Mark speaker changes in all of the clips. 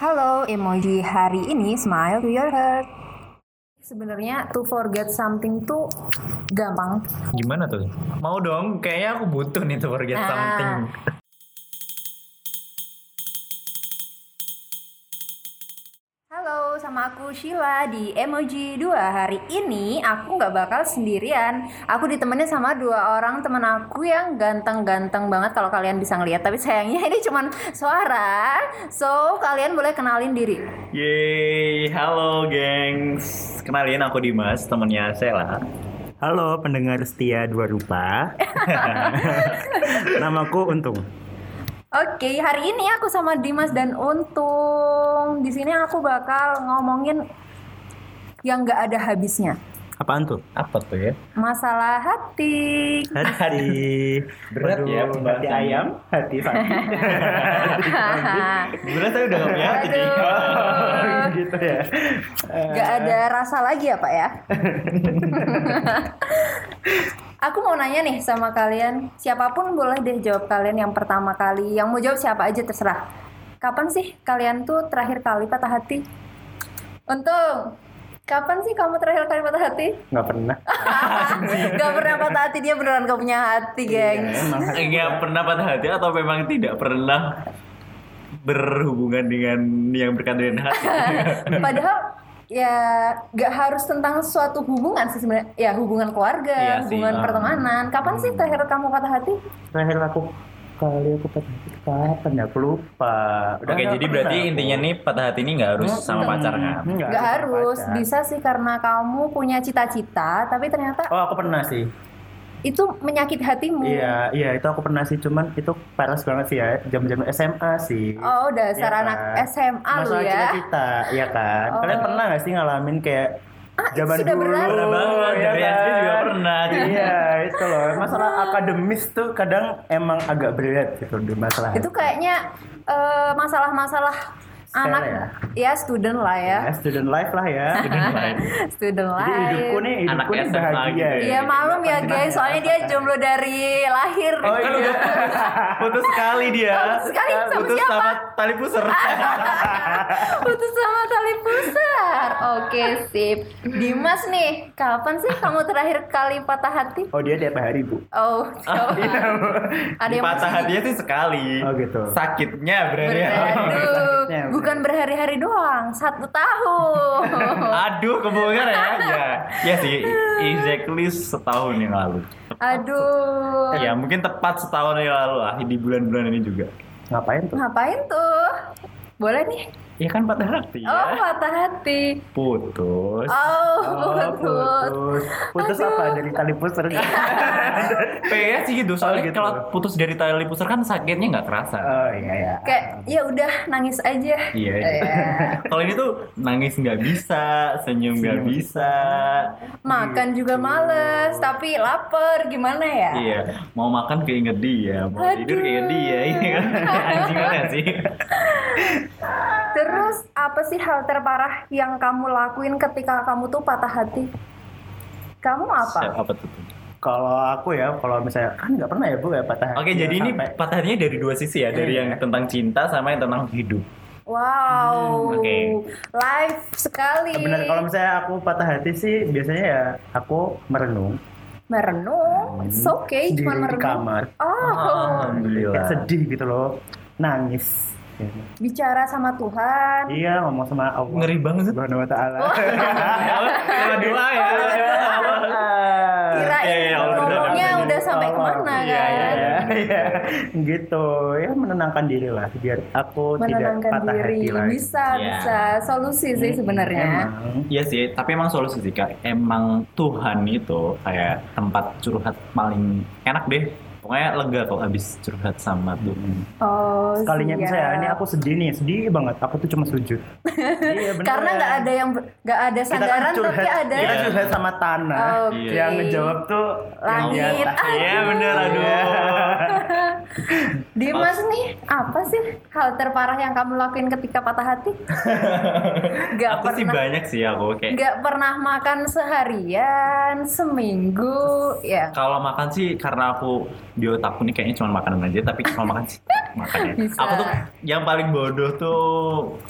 Speaker 1: Halo, emoji hari ini smile to your heart. Sebenarnya to forget something tuh gampang.
Speaker 2: Gimana tuh? Mau dong, kayaknya aku butuh nih to forget
Speaker 1: Nah.
Speaker 2: something.
Speaker 1: Halo, sama aku Sheila di Emoji 2. Hari ini aku nggak bakal sendirian. Aku ditemenin sama dua orang temen aku yang ganteng-ganteng banget kalau kalian bisa ngeliat. Tapi sayangnya ini cuman suara. So, kalian boleh kenalin diri.
Speaker 2: Yeay, halo gengs. Kenalin aku Dimas, temennya Sela.
Speaker 3: Halo pendengar setia dua rupa. Namaku Untung.
Speaker 1: Oke, hari ini aku sama Dimas dan Untung. Di sini aku bakal ngomongin yang nggak ada habisnya.
Speaker 3: Apaan tuh?
Speaker 2: Apa tuh ya?
Speaker 1: Masalah hati.
Speaker 3: Hati.
Speaker 2: Berat ya
Speaker 3: hati
Speaker 2: pembahasannya.
Speaker 3: ayam, hati sapi.
Speaker 2: Sebenernya saya udah gak punya hati nih.
Speaker 1: Aduh.
Speaker 3: gitu ya.
Speaker 1: Gak ada rasa lagi ya Pak ya? Aku mau nanya nih sama kalian, siapapun boleh deh jawab kalian yang pertama kali. Yang mau jawab siapa aja terserah. Kapan sih kalian tuh terakhir kali patah hati? Untung, kapan sih kamu terakhir kali patah hati?
Speaker 3: Nggak pernah.
Speaker 1: gak pernah patah hati dia beneran gak punya hati, geng.
Speaker 3: Ya, Emang
Speaker 2: Enggak pernah patah hati atau memang tidak pernah berhubungan dengan yang berkaitan dengan hati.
Speaker 1: Padahal ya gak harus tentang suatu hubungan sih sebenarnya. Ya hubungan keluarga,
Speaker 2: Iya sih,
Speaker 1: hubungan
Speaker 2: ah.
Speaker 1: pertemanan. Kapan sih
Speaker 3: Hmm.
Speaker 1: terakhir kamu patah hati?
Speaker 3: terakhir aku kali aku patah hati itu kapan ya? Aku lupa. Udah
Speaker 2: Oke,
Speaker 3: nggak
Speaker 2: jadi
Speaker 3: pernah
Speaker 2: berarti
Speaker 3: aku.
Speaker 2: intinya nih patah hati ini nggak harus sama pacar kan?
Speaker 3: Nggak
Speaker 1: Gak
Speaker 3: sama
Speaker 1: harus,
Speaker 3: pacar.
Speaker 1: bisa sih karena kamu punya cita-cita, tapi ternyata
Speaker 3: Oh aku pernah sih.
Speaker 1: itu menyakit hatimu.
Speaker 3: Iya, iya itu aku pernah sih. Cuman itu paras banget sih ya. Jam-jam SMA sih.
Speaker 1: Oh, dasar
Speaker 3: Iya,
Speaker 1: anak
Speaker 3: kan?
Speaker 1: SMA lu
Speaker 3: masalah
Speaker 1: ya.
Speaker 3: cita-cita ya kan
Speaker 1: Oh.
Speaker 3: kalian pernah gak sih ngalamin kayak
Speaker 1: Ah, itu
Speaker 3: zaman
Speaker 1: sudah
Speaker 3: dulu ya
Speaker 1: berlalu.
Speaker 2: Pernah
Speaker 3: Oh,
Speaker 2: banget, dari SD juga pernah.
Speaker 3: kan? iya itu loh masalah akademis tuh kadang emang agak berat gitu di masalah
Speaker 1: Itu kayaknya eh, masalah-masalah
Speaker 3: Style
Speaker 1: anak ya student lah ya.
Speaker 3: Ya, student life lah ya
Speaker 1: Student
Speaker 3: jadi
Speaker 1: life.
Speaker 3: hidupku nih hidupku
Speaker 2: Anak
Speaker 3: nih
Speaker 2: SMA
Speaker 3: bahagia
Speaker 2: gitu
Speaker 1: Iya, malum ya, guys. Soalnya dia jomblo dari lahir.
Speaker 3: oh
Speaker 2: Kan
Speaker 3: iya
Speaker 2: udah putus, putus sekali dia.
Speaker 1: Putus sekali sama
Speaker 2: Putus
Speaker 1: siapa?
Speaker 2: sama tali pusar.
Speaker 1: Putus sama tali pusar. Oke, sip. Dimas nih, kapan sih kamu terakhir kali patah hati?
Speaker 3: oh dia tiap hari bu
Speaker 1: Oh, ada yang
Speaker 2: patah ya.
Speaker 1: masih-
Speaker 2: hatinya sih sekali.
Speaker 3: Oh, gitu.
Speaker 2: Sakitnya berarti.
Speaker 1: Aduh,
Speaker 3: Sakitnya,
Speaker 1: bukan berhari-hari doang, satu tahun.
Speaker 2: Aduh, kebohongan ya. ya. Ya sih, exactly setahun yang lalu.
Speaker 1: Aduh,
Speaker 2: Ya, mungkin tepat setahun yang lalu lah di bulan-bulan ini juga.
Speaker 3: ngapain tuh
Speaker 1: ngapain tuh? Boleh nih?
Speaker 2: Ya kan patah hati ya.
Speaker 1: Oh, patah hati.
Speaker 2: Putus.
Speaker 1: Oh,
Speaker 3: Oh,
Speaker 1: betul.
Speaker 3: putus putus
Speaker 1: Aduh.
Speaker 3: apa dari tali pusar
Speaker 2: Kayaknya sih gitu. Soalnya
Speaker 3: Oh, gitu.
Speaker 2: kalau putus dari tali pusar kan sakitnya nggak kerasa.
Speaker 3: oh iya ya
Speaker 1: Kayak ya udah nangis aja.
Speaker 2: Iya.
Speaker 1: Eh,
Speaker 2: Kalau ini tuh nangis nggak bisa, senyum nggak
Speaker 3: Senyum.
Speaker 2: bisa.
Speaker 1: Makan juga males, tapi lapar gimana ya?
Speaker 2: Iya, mau makan keinget dia, mau tidur
Speaker 1: Aduh.
Speaker 2: keinget dia. Iya kan? Anjing banget sih.
Speaker 1: Terus apa sih hal terparah yang kamu lakuin ketika kamu tuh patah hati? Kamu
Speaker 2: Siap,
Speaker 1: apa?
Speaker 2: Apa tuh?
Speaker 3: kalau aku ya kalau misalnya kan nggak pernah ya bu ya patah
Speaker 2: Oke,
Speaker 3: hati
Speaker 2: jadi ini
Speaker 3: sampai-
Speaker 2: patahnya dari dua sisi ya, dari
Speaker 3: Iya.
Speaker 2: yang tentang cinta sama yang tentang hidup.
Speaker 1: Wow,
Speaker 2: Hmm, oke.
Speaker 1: live sekali.
Speaker 3: Ah, Bener, kalau misalnya aku patah hati sih biasanya ya aku merenung
Speaker 1: merenung, it's okay,
Speaker 3: di,
Speaker 1: Eh, cuma
Speaker 3: di
Speaker 1: merenung.
Speaker 3: kamar.
Speaker 2: Ah.
Speaker 1: Oh,
Speaker 3: Kayak
Speaker 2: Alhamdulillah.
Speaker 3: sedih gitu loh, nangis. Ya.
Speaker 1: bicara sama Tuhan.
Speaker 3: Iya ngomong sama Allah.
Speaker 2: Ngeri banget.
Speaker 3: Subhanahu wa ta'ala.
Speaker 1: Oh.
Speaker 2: Sama doa ya.
Speaker 1: Kirain
Speaker 2: Iya, iya, udah,
Speaker 1: ngomongnya
Speaker 2: udah,
Speaker 1: udah, sampai kemana kan?
Speaker 2: Iya, iya,
Speaker 3: Iya, iya. gitu ya menenangkan diri lah biar aku tidak
Speaker 1: Menenangkan
Speaker 3: patah
Speaker 1: diri,
Speaker 3: hati lagi.
Speaker 1: bisa
Speaker 2: Iya.
Speaker 1: bisa solusi sih sebenarnya.
Speaker 3: Emang.
Speaker 2: Iya sih, tapi emang solusi sih Kak. Emang Tuhan itu kayak tempat curhat paling enak deh. Pokoknya lega kalau habis curhat sama Tuhan.
Speaker 1: Oh,
Speaker 3: Sekalinya
Speaker 1: siap.
Speaker 3: misalnya ini aku sedih nih, sedih banget. Aku tuh cuma sujud. iya, beneran.
Speaker 1: karena nggak ada yang nggak ada
Speaker 3: kita kan
Speaker 1: sandaran
Speaker 3: curhat,
Speaker 1: tapi ada Oh,
Speaker 3: kita
Speaker 2: Iya.
Speaker 3: curhat sama tanah
Speaker 1: Oke. Ah,
Speaker 3: yang ngejawab tuh yang di
Speaker 1: Langit.
Speaker 3: atas.
Speaker 2: Iya bener, aduh.
Speaker 1: Dimas nih, apa sih hal terparah yang kamu lakuin ketika patah hati? Gak
Speaker 2: aku sih
Speaker 1: pernah,
Speaker 2: banyak sih aku kayak
Speaker 1: gak pernah makan seharian, seminggu, ya
Speaker 2: kalau makan sih karena aku di otakku nih kayaknya cuma makanan aja tapi cuma makan sih makan ya.
Speaker 1: Bisa.
Speaker 2: Aku tuh yang paling bodoh tuh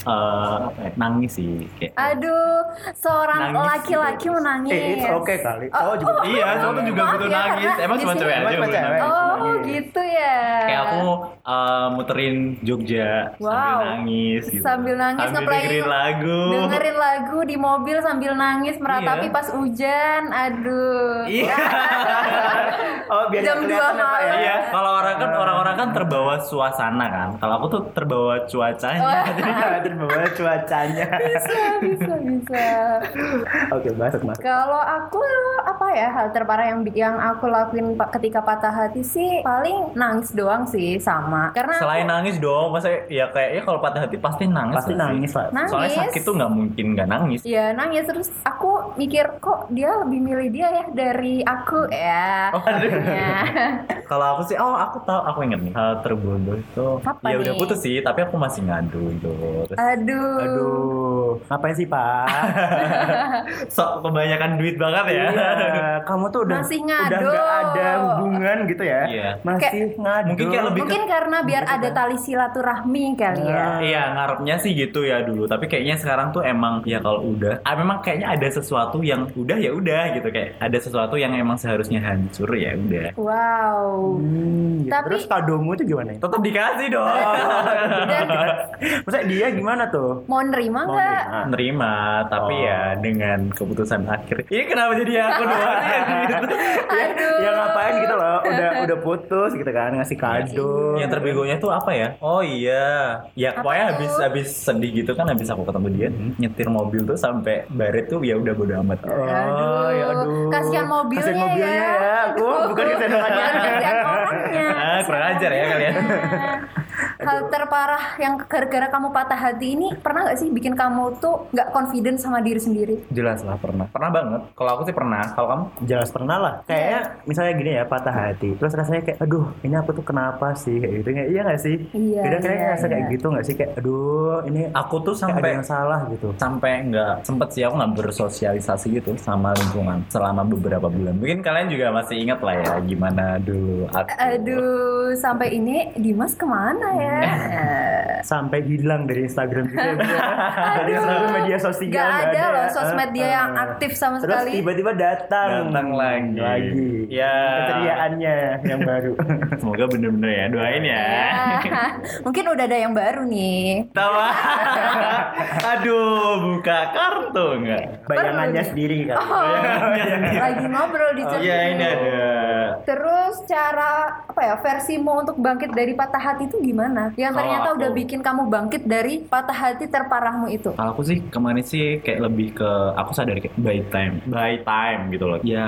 Speaker 2: eh, apa ya, nangis sih kayak.
Speaker 1: Aduh, seorang
Speaker 2: Nangis
Speaker 1: laki-laki
Speaker 2: gitu.
Speaker 1: menangis.
Speaker 3: Eh, it's okay kali.
Speaker 1: Oh,
Speaker 3: Cowok juga- oh,
Speaker 2: Iya, cowok tuh juga
Speaker 1: maaf
Speaker 2: butuh
Speaker 1: ya,
Speaker 2: nangis.
Speaker 1: karena
Speaker 2: Emang
Speaker 1: di
Speaker 2: cuma
Speaker 1: sini-
Speaker 2: cewek aja
Speaker 3: Emang
Speaker 2: yang
Speaker 3: cuma
Speaker 2: butuh
Speaker 3: cewek.
Speaker 2: nangis.
Speaker 1: Oh,
Speaker 3: Nangis.
Speaker 1: gitu ya.
Speaker 2: Kayak aku eh, muterin Jogja
Speaker 1: Wow.
Speaker 2: sambil nangis gitu.
Speaker 1: Sambil nangis,
Speaker 2: sambil
Speaker 1: ngeplay-
Speaker 2: dengerin lagu.
Speaker 1: dengerin lagu di mobil sambil nangis meratapi
Speaker 2: Iya.
Speaker 1: pas hujan. Aduh.
Speaker 2: Iya.
Speaker 3: Oh, biar
Speaker 1: Jam
Speaker 3: nggak kelihatan
Speaker 1: dua
Speaker 3: ya, Pak, ya?
Speaker 1: malam.
Speaker 2: Iya, kalau orang kan orang-orang kan terbawa suasana kan. Kalau aku tuh terbawa cuacanya.
Speaker 1: Wah,
Speaker 3: Iya, terbawa cuacanya.
Speaker 1: bisa, bisa, bisa.
Speaker 3: Oke, masuk masuk.
Speaker 1: Kalau aku apa ya hal terparah yang yang aku lakuin pa- ketika patah hati sih paling nangis doang sih sama. Karena
Speaker 2: Selain nangis dong, masa ya kayaknya kalau patah hati pasti nangis.
Speaker 3: Pasti
Speaker 2: gak sih?
Speaker 3: nangis lah.
Speaker 1: Nangis.
Speaker 2: Soalnya sakit tuh nggak mungkin nggak nangis.
Speaker 1: Ya nangis terus aku mikir kok dia lebih milih dia ya dari aku ya.
Speaker 2: Oh, aduh.
Speaker 1: Ya.
Speaker 2: Kalau aku sih, oh aku tahu, aku inget nih hal terbodoh itu.
Speaker 1: Apa
Speaker 2: ya
Speaker 1: nih?
Speaker 2: udah putus sih, tapi aku masih ngadu itu. Terus,
Speaker 1: Aduh.
Speaker 3: Aduh, ngapain sih, Pak?
Speaker 2: sok kebanyakan duit banget ya.
Speaker 3: Iya, kamu tuh udah
Speaker 1: Masih
Speaker 3: udah
Speaker 1: ngadu.
Speaker 3: nggak ada hubungan gitu ya.
Speaker 2: Iya.
Speaker 3: Masih ngadu.
Speaker 2: mungkin kayak lebih ke-
Speaker 1: Mungkin karena biar ada tali silaturahmi kali ya.
Speaker 2: Iya ngarepnya sih gitu ya dulu tapi kayaknya sekarang tuh emang ya kalau udah ah, memang kayaknya ada sesuatu yang udah ya udah gitu kayak ada sesuatu yang emang seharusnya hancur ya udah
Speaker 1: Wow.
Speaker 3: Hmm, gitu.
Speaker 1: Tapi-
Speaker 3: Terus kadomu tuh gimana ya?
Speaker 2: tetap dikasih dong
Speaker 1: Dan
Speaker 3: Maksudnya dia gimana tuh?
Speaker 1: mau nerima
Speaker 3: Mau
Speaker 1: nggak?
Speaker 3: nerima?
Speaker 2: nerima tapi
Speaker 3: Oh.
Speaker 2: ya dengan keputusan akhir ini kenapa jadi aku doang ya gitu
Speaker 1: Aduh.
Speaker 3: ya ngapain gitu loh udah udah putus gitu kan ngasih kado
Speaker 2: Iya, yang terbegonya tuh apa ya oh iya ya
Speaker 1: Apa
Speaker 2: pokoknya
Speaker 1: tuh?
Speaker 2: habis habis sedih gitu kan habis aku ketemu dia nyetir mobil tuh sampai baret tuh ya udah bodo amat
Speaker 3: Oh, ya aduh.
Speaker 1: Kasihan mobilnya,
Speaker 3: Kasihan mobilnya ya. Aku
Speaker 1: Aduh.
Speaker 3: bukan kasihan orangnya.
Speaker 1: Bukan kasihan orangnya.
Speaker 2: Ah, kurang
Speaker 1: Kasihan
Speaker 2: ajar ya kalian.
Speaker 1: orangnya. Hal terparah yang gara-gara kamu patah hati ini pernah nggak sih bikin kamu tuh nggak confident sama diri sendiri?
Speaker 2: jelas lah pernah pernah banget kalau aku sih pernah kalau kamu
Speaker 3: jelas pernah lah kayaknya misalnya gini ya patah hati terus rasanya kayak aduh ini aku tuh kenapa sih kayak gitu Kayak, iya nggak sih
Speaker 1: Iya,
Speaker 3: kadang kadang
Speaker 1: iya,
Speaker 3: ngerasa kayak
Speaker 1: iya.
Speaker 3: gitu nggak sih kayak aduh ini
Speaker 2: aku tuh
Speaker 3: kayak ada
Speaker 2: sampai
Speaker 3: yang salah gitu
Speaker 2: sampai nggak sempet sih aku nggak bersosialisasi gitu sama lingkungan selama beberapa bulan mungkin kalian juga masih ingat lah ya gimana dulu aku
Speaker 1: Aduh, sampai ini Dimas kemana ya?
Speaker 3: sampai hilang dari Instagram gitu ya, Bu. dari Instagram media sosial
Speaker 1: Gak
Speaker 3: nggak
Speaker 1: ada loh
Speaker 3: ya.
Speaker 1: sosmed dia yang
Speaker 3: Eh, eh.
Speaker 1: aktif sama
Speaker 3: terus
Speaker 1: sekali.
Speaker 3: tiba-tiba datang
Speaker 2: Datang lagi.
Speaker 3: lagi
Speaker 2: Ya.
Speaker 3: keceriaannya yang baru
Speaker 2: semoga bener-bener ya doain ya
Speaker 1: Ya. Mungkin udah ada yang baru nih.
Speaker 2: Tawa. aduh buka kartu nggak
Speaker 3: bayangannya sendiri kan
Speaker 1: Oh, lagi ngobrol di
Speaker 3: Oh,
Speaker 1: chat.
Speaker 2: iya ini
Speaker 1: dulu.
Speaker 2: ada
Speaker 1: Terus cara apa ya versimu untuk bangkit dari patah hati itu gimana? Yang
Speaker 2: Kalau
Speaker 1: ternyata
Speaker 2: aku-
Speaker 1: udah bikin kamu bangkit dari patah hati terparahmu itu.
Speaker 2: Kalau aku sih kemarin sih kayak lebih ke aku sadar kayak by time, by time gitu loh. Ya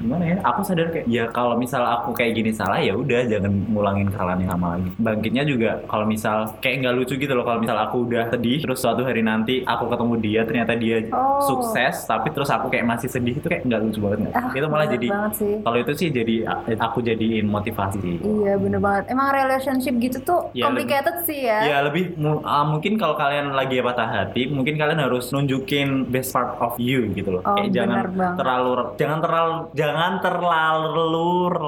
Speaker 2: gimana ya? Aku sadar kayak ya kalau misal aku kayak gini salah ya udah jangan ngulangin kesalahan yang sama lagi. Bangkitnya juga kalau misal kayak nggak lucu gitu loh kalau misal aku udah sedih terus suatu hari nanti aku ketemu dia ternyata dia
Speaker 1: Oh.
Speaker 2: sukses tapi terus aku kayak masih sedih itu kayak nggak lucu banget nggak?
Speaker 1: Ah,
Speaker 2: itu malah
Speaker 1: bener
Speaker 2: jadi
Speaker 1: banget sih.
Speaker 2: kalau itu sih jadi aku jadiin motivasi.
Speaker 1: Iya bener banget. Emang relationship gitu tuh
Speaker 2: Iya,
Speaker 1: complicated sih ya.
Speaker 2: Ya lebih mu- ah, mungkin kalau kalian lagi patah hati, mungkin kalian harus nunjukin best part of you gitu loh.
Speaker 1: Oh,
Speaker 2: Kayak jangan
Speaker 1: benar banget.
Speaker 2: terlalu jangan terlalu jangan terlalu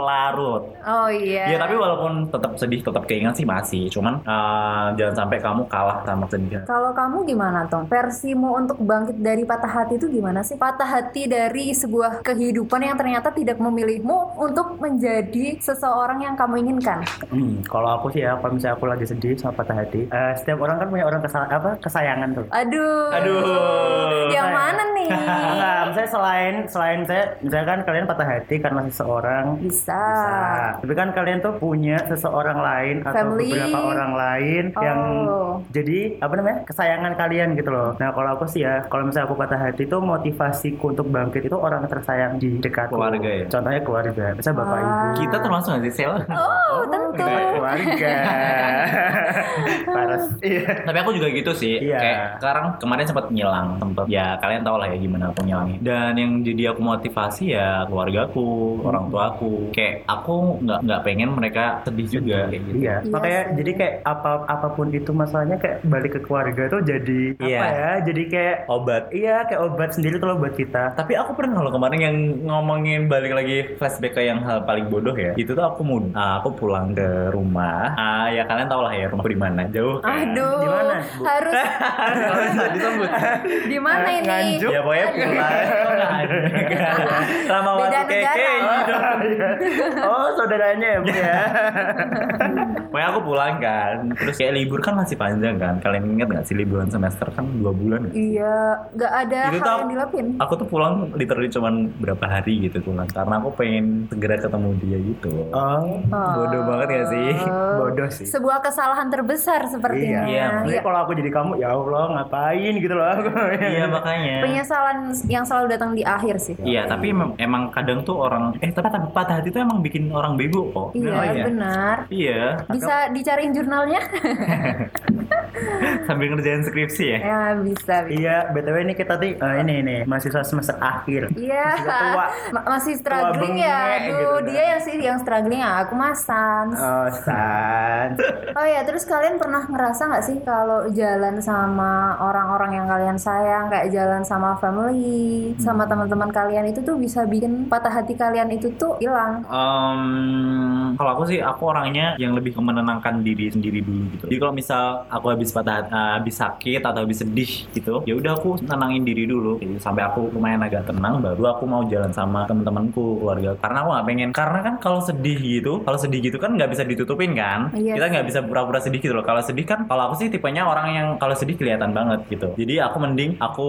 Speaker 2: larut.
Speaker 1: Oh iya.
Speaker 2: Ya tapi walaupun tetap sedih, tetap keinget sih masih. Cuman ah, jangan sampai kamu kalah sama sedih.
Speaker 1: Kalau kamu gimana, Tom? Versimu untuk bangkit dari patah hati itu gimana sih? Patah hati dari sebuah kehidupan yang ternyata tidak memilihmu untuk menjadi seseorang yang kamu inginkan.
Speaker 3: Hmm, kalau aku sih ya, kalau misalnya aku lagi sedih sama patah hati, eh, setiap orang kan punya orang kesal apa kesayangan tuh.
Speaker 1: Aduh.
Speaker 2: Aduh.
Speaker 1: Yang
Speaker 3: Saya-
Speaker 1: mana nih? Iya.
Speaker 3: Nah, misalnya selain selain saya, misalnya kan kalian patah hati karena seseorang
Speaker 1: Bisa.
Speaker 3: bisa. Tapi kan kalian tuh punya seseorang lain atau
Speaker 1: Family.
Speaker 3: beberapa orang lain yang
Speaker 1: Oh.
Speaker 3: jadi apa namanya kesayangan kalian gitu loh nah kalau aku sih ya kalau misalnya aku patah hati itu motivasiku untuk bangkit itu orang tersayang di dekatku
Speaker 2: Keluarga ya?
Speaker 3: contohnya keluarga misalnya bapak
Speaker 1: Ah.
Speaker 3: ibu
Speaker 2: Kita termasuk nggak sih Sel?
Speaker 1: Oh, tentu.
Speaker 3: Nah, keluarga Paras iya
Speaker 2: tapi aku juga gitu sih
Speaker 3: Iya.
Speaker 2: kayak sekarang kemarin sempat ngilang tempat ya kalian tau lah ya gimana aku ngilangnya dan yang jadi aku motivasi ya keluargaku orang
Speaker 1: Hmm.
Speaker 2: tuaku kayak aku nggak nggak pengen mereka sedih juga kayak gitu
Speaker 3: Iya,
Speaker 1: Iya
Speaker 3: makanya
Speaker 1: sih.
Speaker 3: jadi kayak apa apapun itu masalahnya kayak balik ke keluarga tuh jadi
Speaker 2: Iya.
Speaker 3: apa ya? Jadi kayak
Speaker 2: obat
Speaker 3: iya kayak obat sendiri tuh loh buat kita.
Speaker 2: tapi aku pernah loh kemarin yang ngomongin balik lagi flashback ke yang hal paling bodoh ya itu tuh aku mud ah, aku pulang ke rumah ah ya kalian tau lah ya rumah di mana jauh kan?
Speaker 1: Aduh,
Speaker 3: Di mana, Bu?
Speaker 1: harus
Speaker 2: Nggak usah disebut
Speaker 1: di mana
Speaker 3: Eh,
Speaker 1: ini?
Speaker 3: Nganjuk.
Speaker 2: ya pokoknya pulang Kok nggak ada?
Speaker 1: kan?
Speaker 2: Ramawati
Speaker 1: Beda negara.
Speaker 2: keke gitu.
Speaker 3: oh, saudaranya ya, Bu ya.
Speaker 2: Pokoknya aku pulang kan, terus kayak libur kan masih panjang kan. Kalian inget gak sih liburan semester kan dua bulan? ya?
Speaker 1: Iya, nggak ada
Speaker 2: Itu
Speaker 1: hal
Speaker 2: tuh
Speaker 1: yang dilapin.
Speaker 2: Aku tuh pulang literally cuman berapa hari gitu pulang karena aku pengen segera ketemu dia gitu.
Speaker 3: Oh,
Speaker 2: bodoh banget gak sih?
Speaker 1: Oh.
Speaker 3: bodoh sih.
Speaker 1: Sebuah kesalahan terbesar sepertinya.
Speaker 2: Iya,
Speaker 3: Makanya kalau aku jadi kamu, ya Allah ngapain gitu loh aku.
Speaker 2: Iya makanya.
Speaker 1: Penyesalan yang selalu datang di akhir sih.
Speaker 2: Iya, tapi emang, emang kadang tuh orang eh tapi tapi patah hati tuh emang bikin orang bego kok.
Speaker 1: Iya,
Speaker 2: Oh, iya.
Speaker 1: benar.
Speaker 2: Iya,
Speaker 1: Bisa dicariin jurnalnya?
Speaker 2: sambil ngerjain skripsi ya.
Speaker 1: ya, bisa. bisa.
Speaker 3: Iya, BTW ini kita tuh eh, ini nih, mahasiswa semester akhir.
Speaker 1: Iya,
Speaker 3: Masih tua.
Speaker 1: Ma- masih struggling ya.
Speaker 3: bengek
Speaker 1: Aduh,
Speaker 3: gitu kan.
Speaker 1: dia yang sih yang struggling ya. Aku mas sans.
Speaker 3: Oh, San.
Speaker 1: Oh ya, terus kalian pernah ngerasa nggak sih kalau jalan sama orang-orang yang kalian sayang, kayak jalan sama
Speaker 3: Hmm.
Speaker 1: family, sama teman-teman kalian itu tuh bisa bikin patah hati kalian itu tuh hilang.
Speaker 2: Em, kalau aku sih aku orangnya yang lebih ke menenangkan diri sendiri dulu gitu. Jadi kalau misal aku habis patah eh, habis sakit atau habis sedih gitu, ya udah aku tenangin diri dulu gitu. sampai aku lumayan agak tenang baru aku mau jalan sama temen-temenku, keluarga. Karena aku nggak pengen karena kan kalau sedih gitu, kalau sedih gitu kan nggak bisa ditutupin kan.
Speaker 1: Iya
Speaker 2: Kita nggak bisa pura-pura sedih gitu loh. Kalau sedih kan kalau aku sih tipenya orang yang kalau sedih kelihatan banget gitu. Jadi aku mending aku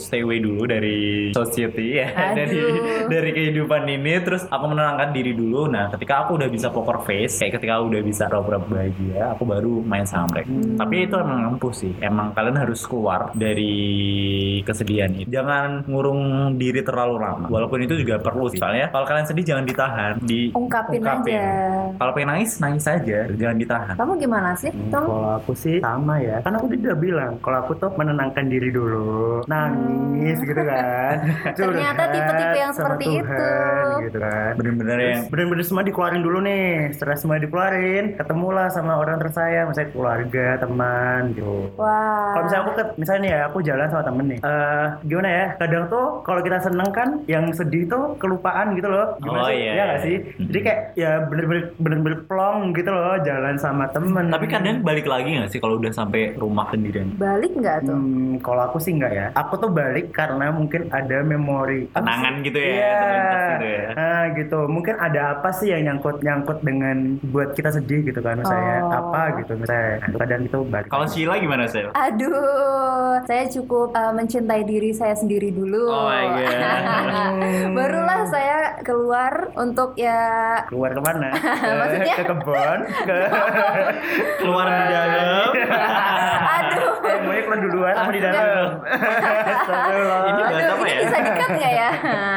Speaker 2: stay away dulu dari society ya dari
Speaker 1: Aduh.
Speaker 2: dari kehidupan ini terus aku menenangkan diri dulu nah ketika aku udah bisa poker face kayak ketika aku udah bisa pura-pura bahagia aku baru main sama mereka tapi itu emang ampuh sih emang kalian harus keluar dari kesedihan itu jangan ngurung diri terlalu lama walaupun itu juga perlu sih soalnya kalau kalian sedih jangan ditahan diungkapin
Speaker 1: Ungkapin aja.
Speaker 2: kalau pengen nangis nangis aja jangan ditahan
Speaker 1: Kamu gimana sih, Tom?
Speaker 3: Hmm. Kalau aku sih sama ya, kan aku udah bilang kalau aku tuh menenangkan diri dulu, nangis gitu kan.
Speaker 1: Hmm. Ternyata
Speaker 3: Curhat
Speaker 1: tipe-tipe yang
Speaker 3: sama
Speaker 1: seperti
Speaker 3: Tuhan,
Speaker 1: itu.
Speaker 3: gitu kan.
Speaker 2: bener-bener
Speaker 3: Terus
Speaker 2: yang
Speaker 3: Bener-bener semua dikeluarin dulu nih, setelah semua dikeluarin, ketemulah sama orang tersayang, misalnya keluarga, teman gitu.
Speaker 1: Wah.
Speaker 3: Kalau misalnya aku ke, misalnya nih ya aku jalan sama temen nih, Eh, gimana ya? Kadang tuh kalau kita seneng kan, yang sedih tuh kelupaan gitu loh. Gimana
Speaker 2: Oh,
Speaker 3: sih?
Speaker 2: iya,
Speaker 3: Iya
Speaker 2: iya.
Speaker 3: nggak sih? Jadi kayak ya bener-bener bener-bener plong gitu loh, jalan sama temen.
Speaker 2: tapi kadang balik lagi gak sih kalau udah sampai rumah sendirian
Speaker 1: balik nggak tuh?
Speaker 3: Hmm, kalau aku sih nggak ya. Aku tuh balik karena mungkin ada memori. Apa
Speaker 2: kenangan
Speaker 3: sih?
Speaker 2: gitu ya
Speaker 3: Iya.
Speaker 2: terlintas gitu ya
Speaker 3: Ah, gitu. Mungkin ada apa sih yang nyangkut-nyangkut dengan buat kita sedih gitu kan misalnya.
Speaker 1: Oh.
Speaker 3: Apa gitu misalnya. Kadang itu balik.
Speaker 2: kalau Sheila gimana sih
Speaker 1: Aduh, saya cukup eh, mencintai diri saya sendiri dulu.
Speaker 2: Oh my
Speaker 3: iya.
Speaker 2: God.
Speaker 1: Barulah saya keluar untuk ya
Speaker 3: keluar kemana?
Speaker 1: Maksudnya?
Speaker 3: ke kebun, ke
Speaker 2: keluar di dalam
Speaker 1: aduh.
Speaker 3: eh, maunya keluar duluan apa di dalam?
Speaker 2: Ini
Speaker 1: Aduh,
Speaker 2: bahasa apa
Speaker 1: ini
Speaker 2: ya?
Speaker 1: bisa dekat nggak ya?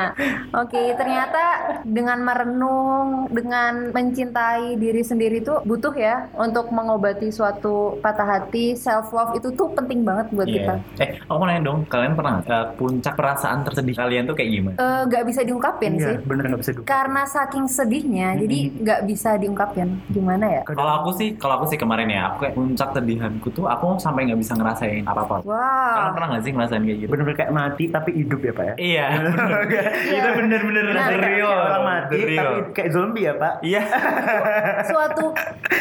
Speaker 1: Oke, ternyata dengan merenung, dengan mencintai diri sendiri itu butuh ya untuk mengobati suatu patah hati, self love itu tuh penting banget buat
Speaker 2: Iya.
Speaker 1: kita.
Speaker 2: Eh, aku mau nanya dong, kalian pernah nggak, eh, puncak perasaan tersedih kalian tuh kayak gimana?
Speaker 1: Eh, Nggak bisa diungkapin
Speaker 3: Iya,
Speaker 1: sih,
Speaker 3: bener nggak bisa dulu.
Speaker 1: karena saking sedihnya, jadi nggak bisa diungkapin. Gimana ya?
Speaker 2: Kalau aku sih, kalau aku sih kemarin ya, aku kayak puncak sedihanku tuh aku sampai nggak bisa ngerasain
Speaker 1: Ah.
Speaker 2: apa-apa. Kalian
Speaker 1: Wow.
Speaker 2: pernah nggak sih ngerasain kayak gitu?
Speaker 3: bener-bener kayak mati tapi hidup ya pak ya.
Speaker 2: Iya. Itu bener-bener
Speaker 1: Nah,
Speaker 2: the
Speaker 3: Kayak-
Speaker 2: real.
Speaker 3: kayak orang mati
Speaker 2: The real.
Speaker 3: tapi kayak zombie ya pak.
Speaker 2: Iya.
Speaker 1: suatu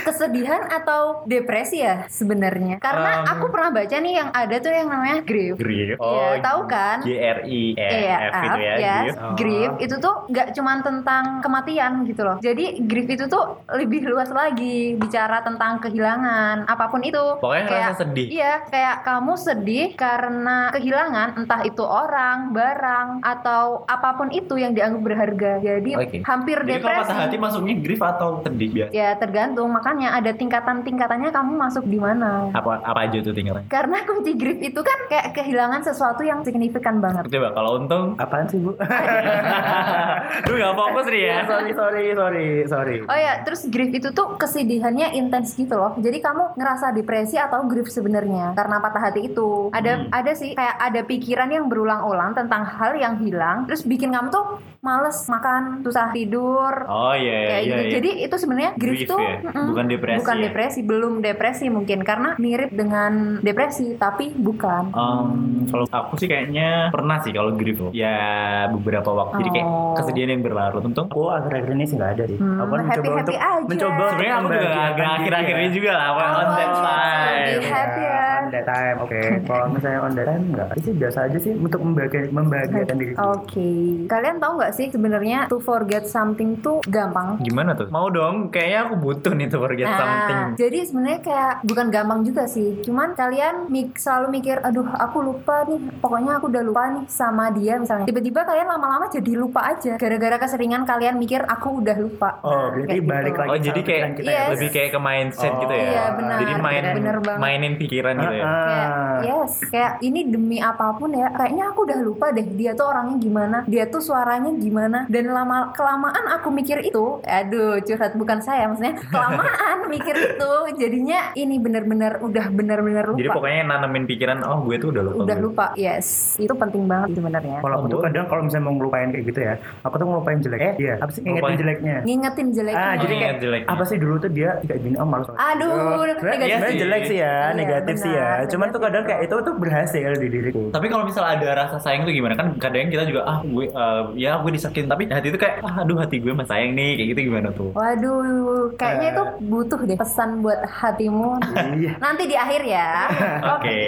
Speaker 1: kesedihan atau depresi ya sebenarnya karena
Speaker 2: Um.
Speaker 1: aku pernah baca nih yang ada tuh yang namanya grief
Speaker 2: Grief.
Speaker 1: Iya, tahu kan?
Speaker 2: G R I E
Speaker 1: Iya,
Speaker 2: F itu ya.
Speaker 1: yes.
Speaker 2: grief.
Speaker 3: Oh.
Speaker 1: Grief itu tuh nggak cuman tentang kematian gitu loh. Jadi grief itu tuh lebih luas lagi bicara tentang kehilangan apapun itu.
Speaker 2: Pokoknya ngerasa
Speaker 1: Kayak-
Speaker 2: sedih.
Speaker 1: Iya, kayak kamu sedih karena kehilangan entah itu orang, barang atau apapun itu yang dianggap berharga. Jadi
Speaker 2: Oke.
Speaker 1: hampir
Speaker 2: Jadi kalau patah hati
Speaker 1: depresi.
Speaker 2: masuknya grief atau sedih biasa?
Speaker 1: Ya tergantung makanya ada tingkatan-tingkatannya kamu masuk di mana.
Speaker 2: Apa apa aja tuh tingkatannya?
Speaker 1: Karena kunci grip itu kan kayak kehilangan sesuatu yang signifikan banget.
Speaker 2: Coba kalau untung,
Speaker 3: Apaan sih bu?
Speaker 2: lu nggak fokus nih
Speaker 1: Iya,
Speaker 2: ya.
Speaker 3: sorry sorry sorry sorry.
Speaker 1: Oh ya, terus grief itu tuh kesedihannya intens gitu loh. Jadi kamu ngerasa depresi atau grief sebenarnya karena patah hati itu. Ada
Speaker 2: Hmm.
Speaker 1: ada sih kayak ada pikiran yang berulang-ulang tentang hal yang hilang, terus bikin kamu tuh males makan, susah tidur.
Speaker 2: Oh iya iya
Speaker 1: Kayak
Speaker 2: iya.
Speaker 1: gitu.
Speaker 2: iya.
Speaker 1: Jadi itu sebenarnya grief,
Speaker 2: Grief
Speaker 1: tuh
Speaker 2: ya,
Speaker 1: mm-mm,
Speaker 2: bukan depresi
Speaker 1: Bukan
Speaker 2: ya.
Speaker 1: depresi, belum depresi mungkin karena mirip dengan depresi tapi bukan.
Speaker 2: Um, kalau aku sih kayaknya pernah sih kalau grief loh. Ya beberapa waktu. Jadi kayak
Speaker 1: Oh.
Speaker 2: kesedihan yang berlarut. Untung
Speaker 3: Aku akhir-akhir ini sih nggak ada sih.
Speaker 1: Hmm,
Speaker 3: aku kan mencoba
Speaker 1: happy-happy
Speaker 3: untuk
Speaker 1: aja.
Speaker 3: mencoba untuk
Speaker 2: sebenarnya aku juga
Speaker 3: membahagiakan
Speaker 2: agak
Speaker 3: diri
Speaker 2: akhir-akhir
Speaker 3: ya.
Speaker 2: ini juga lah. well, on
Speaker 1: Oh,
Speaker 2: that
Speaker 1: jadi
Speaker 2: time.
Speaker 1: happy. ya.
Speaker 3: Iya, on that time, oke. Kalau misalnya on that time nggak, itu biasa aja sih untuk membagi membahagiakan
Speaker 2: Gitu.
Speaker 3: diri. sendiri.
Speaker 1: Oke, kalian tahu nggak sih sebenarnya to forget something tuh gampang.
Speaker 2: Gimana tuh? Mau dong, kayaknya aku butuh nih to forget
Speaker 1: Nah,
Speaker 2: something.
Speaker 1: jadi sebenarnya kayak bukan gampang juga sih. Cuman kalian mik selalu mikir, aduh aku lupa nih. Pokoknya aku udah lupa nih sama dia misalnya. Tiba-tiba kalian lama-lama jadi lupa aja. Gara-gara keseringan kalian mikir aku udah lupa.
Speaker 3: Oh,
Speaker 1: Nah,
Speaker 3: berarti
Speaker 1: kayak gitu.
Speaker 3: balik lagi.
Speaker 2: Oh jadi
Speaker 3: sama
Speaker 2: kayak
Speaker 3: pikiran kita
Speaker 1: Yes.
Speaker 3: ya.
Speaker 2: lebih kayak ke mindset
Speaker 3: Oh.
Speaker 2: gitu ya.
Speaker 1: Iya, benar.
Speaker 2: Jadi main
Speaker 1: Bener banget.
Speaker 2: mainin pikiran gitu ya.
Speaker 1: Kayak,
Speaker 3: Ah,
Speaker 1: yes, kayak ini demi apapun ya. Kayaknya aku udah lupa deh dia tuh orangnya gimana, dia tuh suaranya gimana. Dan lama kelamaan aku mikir itu, aduh curhat bukan saya maksudnya. Kelamaan mikir itu jadinya ini bener-bener udah bener-bener lupa.
Speaker 2: Jadi pokoknya nanemin pikiran, oh gue tuh udah lupa.
Speaker 1: Uh-uh. udah
Speaker 2: gue.
Speaker 1: lupa, yes. Itu penting banget sebenarnya.
Speaker 3: Kalau aku tuh
Speaker 2: Boleh.
Speaker 3: kadang kalau misalnya mau ngelupain kayak gitu ya, aku tuh ngelupain jelek. Eh, iya. Apa sih
Speaker 2: Ngelupain.
Speaker 3: ngingetin jeleknya?
Speaker 1: Ngingetin jeleknya.
Speaker 3: Ah, jadi kayak
Speaker 2: Nginget jeleknya.
Speaker 3: apa sih dulu tuh dia kayak gini oh malu.
Speaker 1: Aduh, negatif.
Speaker 3: negatif.
Speaker 2: Iya sih.
Speaker 3: jelek sih ya,
Speaker 1: Iya,
Speaker 3: negatif sih ya.
Speaker 1: benar,
Speaker 3: Cuman tuh
Speaker 1: negatif.
Speaker 3: kadang kayak itu tuh berhasil di diriku.
Speaker 2: Tapi kalau misalnya ada rasa sayang tuh gimana kan kadang kita juga ah gue eh, ya gue disakitin tapi hati itu kayak ah, aduh hati gue masih sayang nih kayak gitu gimana tuh.
Speaker 1: Waduh, kayaknya itu butuh deh pesan buat hatimu.
Speaker 3: Iya.
Speaker 1: Nanti di akhir ya.
Speaker 2: Oke.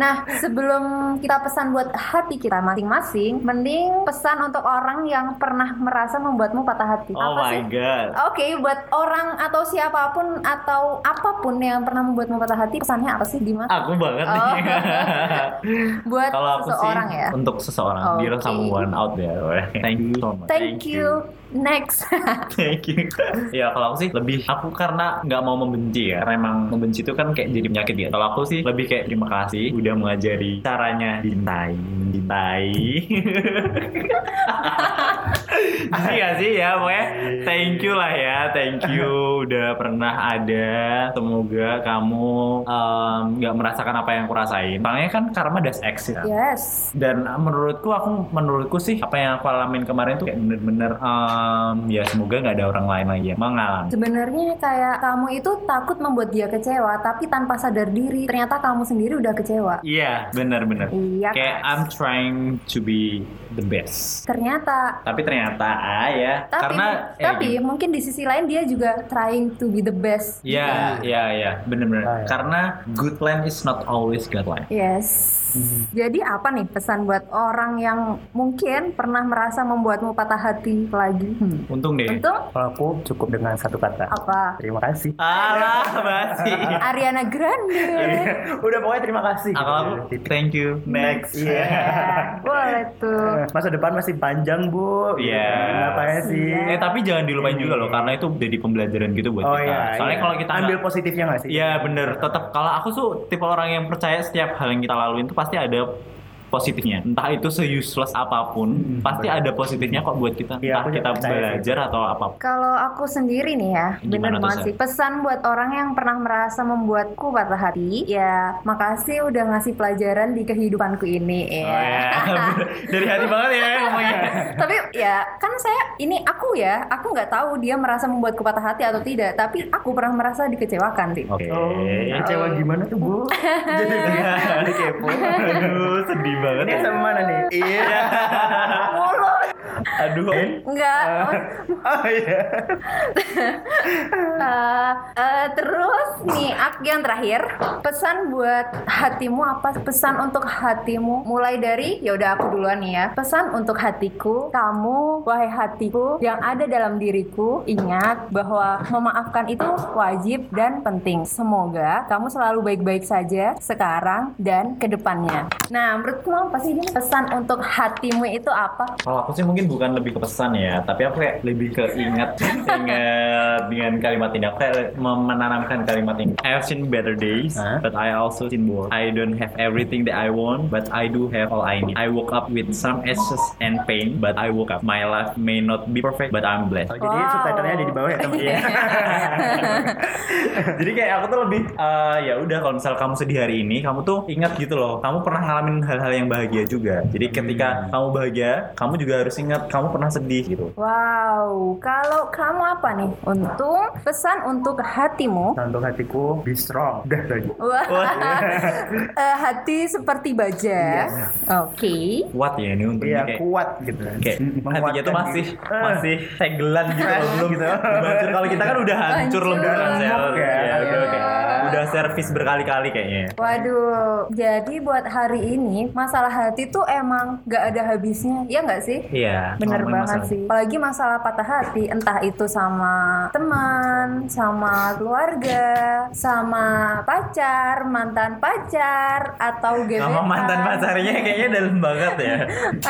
Speaker 1: Nah, sebelum kita pesan buat hati kita masing-masing, mending pesan untuk orang yang pernah merasa membuatmu patah hati.
Speaker 2: Oh
Speaker 1: Apa
Speaker 2: my
Speaker 1: sih?
Speaker 2: god.
Speaker 1: Oke, buat orang atau siapapun atau apapun yang pernah membuatmu patah hati, pesannya apa sih, Dimas?
Speaker 2: Aku banget
Speaker 1: Oh.
Speaker 2: nih.
Speaker 1: Buat
Speaker 2: kalau aku sih
Speaker 1: seseorang ya.
Speaker 2: untuk seseorang,
Speaker 1: Oke.
Speaker 2: biar someone out there. Thank you so much.
Speaker 1: Thank you. Next.
Speaker 2: Thank you. ya kalau aku sih lebih aku karena nggak mau membenci ya. Karena emang membenci itu kan kayak jadi penyakit ya. Kalau aku sih lebih kayak terima kasih udah mengajari caranya cintai, mencintai. Jadi gak sih ya pokoknya thank you lah ya thank you udah pernah ada semoga kamu em, nggak merasakan apa yang aku rasain soalnya kan karma does exist
Speaker 1: Iya,
Speaker 2: ya
Speaker 1: yes.
Speaker 2: dan ah, menurutku aku menurutku sih apa yang aku alamin kemarin tuh kayak bener-bener em, ya semoga nggak ada orang lain lagi yang mengalami
Speaker 1: Sebenarnya kayak kamu itu takut membuat dia kecewa, tapi tanpa sadar diri, ternyata kamu sendiri udah kecewa.
Speaker 2: iya bener-bener
Speaker 1: Iya.
Speaker 2: kayak
Speaker 1: Kak.
Speaker 2: I'm trying to be the best
Speaker 1: Ternyata
Speaker 2: tapi ternyata ah, ya
Speaker 1: tapi
Speaker 2: karena eh,
Speaker 1: tapi mungkin di sisi lain dia juga trying to be the best gitu.
Speaker 2: Ya, ya, ya, bener-bener.
Speaker 3: Ah, ya.
Speaker 2: Karena good plan is not always good plan.
Speaker 1: yes jadi apa nih pesan buat orang yang mungkin pernah merasa membuatmu patah hati lagi hmm.
Speaker 2: Untung deh.
Speaker 1: untung
Speaker 3: Kalau aku cukup dengan satu kata.
Speaker 1: apa
Speaker 3: Terima kasih.
Speaker 2: Alah, basi.
Speaker 1: Ariana
Speaker 2: Iya.
Speaker 1: Grande
Speaker 3: Udah pokoknya terima kasih. Iya,
Speaker 2: Akal aku,
Speaker 3: Titik.
Speaker 2: thank you. Next.
Speaker 3: Iya.
Speaker 1: Ya, boleh tuh
Speaker 3: Masa depan masih panjang, Bu.
Speaker 2: Iya.
Speaker 3: Ngapain sih?
Speaker 1: Iya.
Speaker 2: Eh tapi jangan dilupain juga loh, karena itu jadi pembelajaran gitu buat
Speaker 3: iya, Oh
Speaker 2: kita.
Speaker 3: iya.
Speaker 2: Soalnya
Speaker 3: iya.
Speaker 2: kalau kita
Speaker 3: ambil
Speaker 2: nggak-
Speaker 3: positifnya nggak sih?
Speaker 2: Iya bener, tetap kalau aku tuh tipe orang yang percaya setiap hal yang kita laluin tuh pasti ada positifnya. Entah itu se-useless apapun,
Speaker 3: Hmm,
Speaker 2: pasti ada
Speaker 3: bener.
Speaker 2: positifnya kok buat kita. Entah
Speaker 3: Iya, aku juga
Speaker 2: kita
Speaker 3: percaya sih.
Speaker 2: belajar atau apapun.
Speaker 1: kalau aku sendiri nih ya, bener
Speaker 2: Gimana tuh,
Speaker 1: banget
Speaker 2: Sel?
Speaker 1: sih. Pesan buat orang yang pernah merasa membuatku patah hati, ya makasih udah ngasih pelajaran di kehidupanku ini. ya.
Speaker 2: Oh, iya. Dari hati banget ya ngomongnya.
Speaker 1: tapi ya kan saya ini aku ya aku nggak tahu dia merasa membuat patah hati atau tidak tapi aku pernah merasa dikecewakan sih
Speaker 2: Oke.
Speaker 3: Oh,
Speaker 2: Iya.
Speaker 3: kecewa gimana tuh, Bu? Jadi jadi kepo.
Speaker 2: Aduh, sedih banget
Speaker 3: Ini
Speaker 2: ya. Oh.
Speaker 3: sama mana nih? Iya.
Speaker 1: mulut
Speaker 2: Aduh.
Speaker 1: Enggak.
Speaker 3: Eh? oh iya.
Speaker 1: Eh, eh, terus nih Ak yang terakhir pesan buat hatimu apa pesan untuk hatimu mulai dari ya udah aku duluan nih ya pesan untuk hatiku kamu wahai hatiku yang ada dalam diriku ingat bahwa memaafkan itu wajib dan penting semoga kamu selalu baik-baik saja sekarang dan kedepannya nah menurutmu apa sih ini pesan untuk hatimu itu apa
Speaker 2: Kalau aku sih mungkin bukan lebih ke pesan ya, tapi aku kayak lebih ke ingat, ingat dengan kalimat ini. Aku kayak mem- menanamkan kalimat ini. I have seen better days,
Speaker 3: Hah?
Speaker 2: but I also seen worse. I don't have everything that I want, but I do have all I need. I woke up with some ashes and pain, but I woke up. My life may not be perfect, but I'm blessed.
Speaker 3: Oh, jadi
Speaker 1: Wow.
Speaker 3: subtitlenya ada di bawah ya teman
Speaker 2: Iya. Jadi kayak aku tuh lebih eh, ya udah kalau misal kamu sedih hari ini, kamu tuh ingat gitu loh. Kamu pernah ngalamin hal-hal yang bahagia juga. Jadi
Speaker 3: Hmm.
Speaker 2: ketika kamu bahagia, kamu juga harus ingat kamu pernah sedih gitu.
Speaker 1: Wow, kalau kamu apa nih? Untung pesan untuk hatimu.
Speaker 3: Nah, untuk hatiku be strong. Udah lagi.
Speaker 1: Wah,
Speaker 2: Wah. iya.
Speaker 1: Eh, hati seperti baja. Oke.
Speaker 2: Kuat ya ini untuk
Speaker 3: Iya
Speaker 2: kayak
Speaker 3: kuat gitu.
Speaker 2: kayak hatinya tuh masih
Speaker 3: Eh.
Speaker 2: masih tegelan gitu loh, belum hancur. Kalau kita kan udah hancur
Speaker 1: Hancur.
Speaker 2: lembaran sel.
Speaker 3: Enak ya.
Speaker 2: Iya, udah
Speaker 1: Iya.
Speaker 2: kayak- udah servis berkali-kali kayaknya.
Speaker 1: Waduh, jadi buat hari ini masalah hati tuh emang gak ada habisnya, ya nggak sih?
Speaker 2: Iya.
Speaker 1: Bener
Speaker 2: ngomongin
Speaker 1: banget
Speaker 2: masalah.
Speaker 1: sih. Apalagi masalah patah hati, entah itu sama teman, sama keluarga, sama pacar, mantan pacar, atau gebetan.
Speaker 2: Sama mantan
Speaker 1: Iya.
Speaker 2: pacarnya kayaknya dalam banget ya.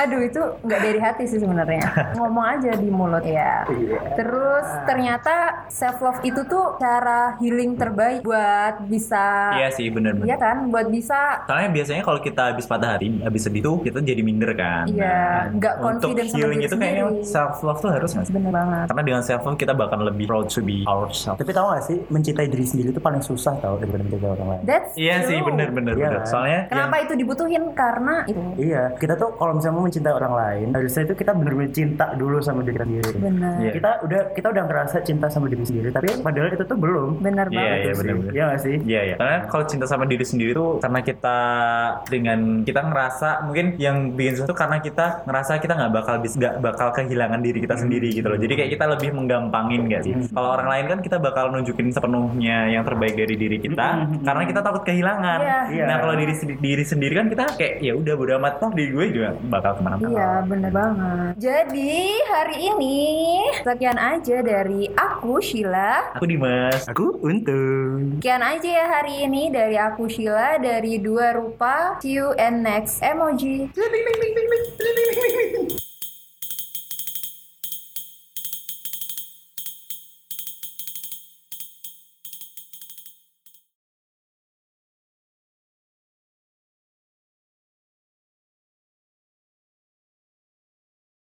Speaker 1: Aduh itu nggak dari hati sih sebenarnya. Ngomong aja di mulut ya.
Speaker 3: Iya.
Speaker 1: Terus ternyata self love itu tuh cara healing terbaik buat bisa
Speaker 2: Iya sih bener-bener.
Speaker 1: Iya kan, buat bisa
Speaker 2: Soalnya biasanya kalau kita habis patah hati, habis sedih tuh kita jadi minder kan.
Speaker 1: Iya, nggak
Speaker 2: Untuk
Speaker 1: confident sama
Speaker 2: healing
Speaker 1: diri
Speaker 2: itu kayaknya
Speaker 1: sendiri.
Speaker 2: self love tuh harus nggak sih?
Speaker 1: bener banget.
Speaker 2: Karena dengan self love kita bakal lebih proud to be ourselves.
Speaker 3: Tapi tahu gak sih mencintai diri sendiri itu paling susah tau daripada mencintai orang lain.
Speaker 1: That's
Speaker 2: Iya
Speaker 1: true.
Speaker 2: sih bener-bener.
Speaker 3: Iya
Speaker 2: bener.
Speaker 3: kan?
Speaker 2: Soalnya yang-
Speaker 1: Kenapa itu dibutuhin? Karena itu.
Speaker 3: Iya, kita tuh kalau misalnya mau mencintai orang lain, harusnya itu kita benar-benar cinta dulu sama diri kita sendiri.
Speaker 1: Bener.
Speaker 2: Iya.
Speaker 3: Kita udah kita udah ngerasa cinta sama diri sendiri, tapi padahal itu tuh belum.
Speaker 1: Bener
Speaker 2: Iya,
Speaker 1: banget.
Speaker 2: iya. benar-benar.
Speaker 3: Iya gak sih?
Speaker 2: Iya ya. Karena kalau cinta sama diri sendiri tuh karena kita dengan kita ngerasa mungkin yang bikin susah tuh karena kita ngerasa kita nggak bakal bis nggak bakal kehilangan diri kita sendiri gitu loh. Jadi kayak kita lebih menggampangin gak sih? Kalau orang lain kan kita bakal nunjukin sepenuhnya yang terbaik dari diri kita
Speaker 3: Mm-mm.
Speaker 2: karena kita takut kehilangan.
Speaker 1: Iya.
Speaker 3: Iya.
Speaker 2: Nah kalau diri sendi- diri sendiri kan kita kayak ya udah bodo amat toh diri gue juga bakal kemana-mana.
Speaker 1: Iya, bener banget. Jadi hari ini sekian aja dari aku Sheila.
Speaker 2: Aku Dimas.
Speaker 3: Aku untung.
Speaker 1: Sekian aja ya hari ini dari aku Sheila dari dua rupa. See you and next emoji.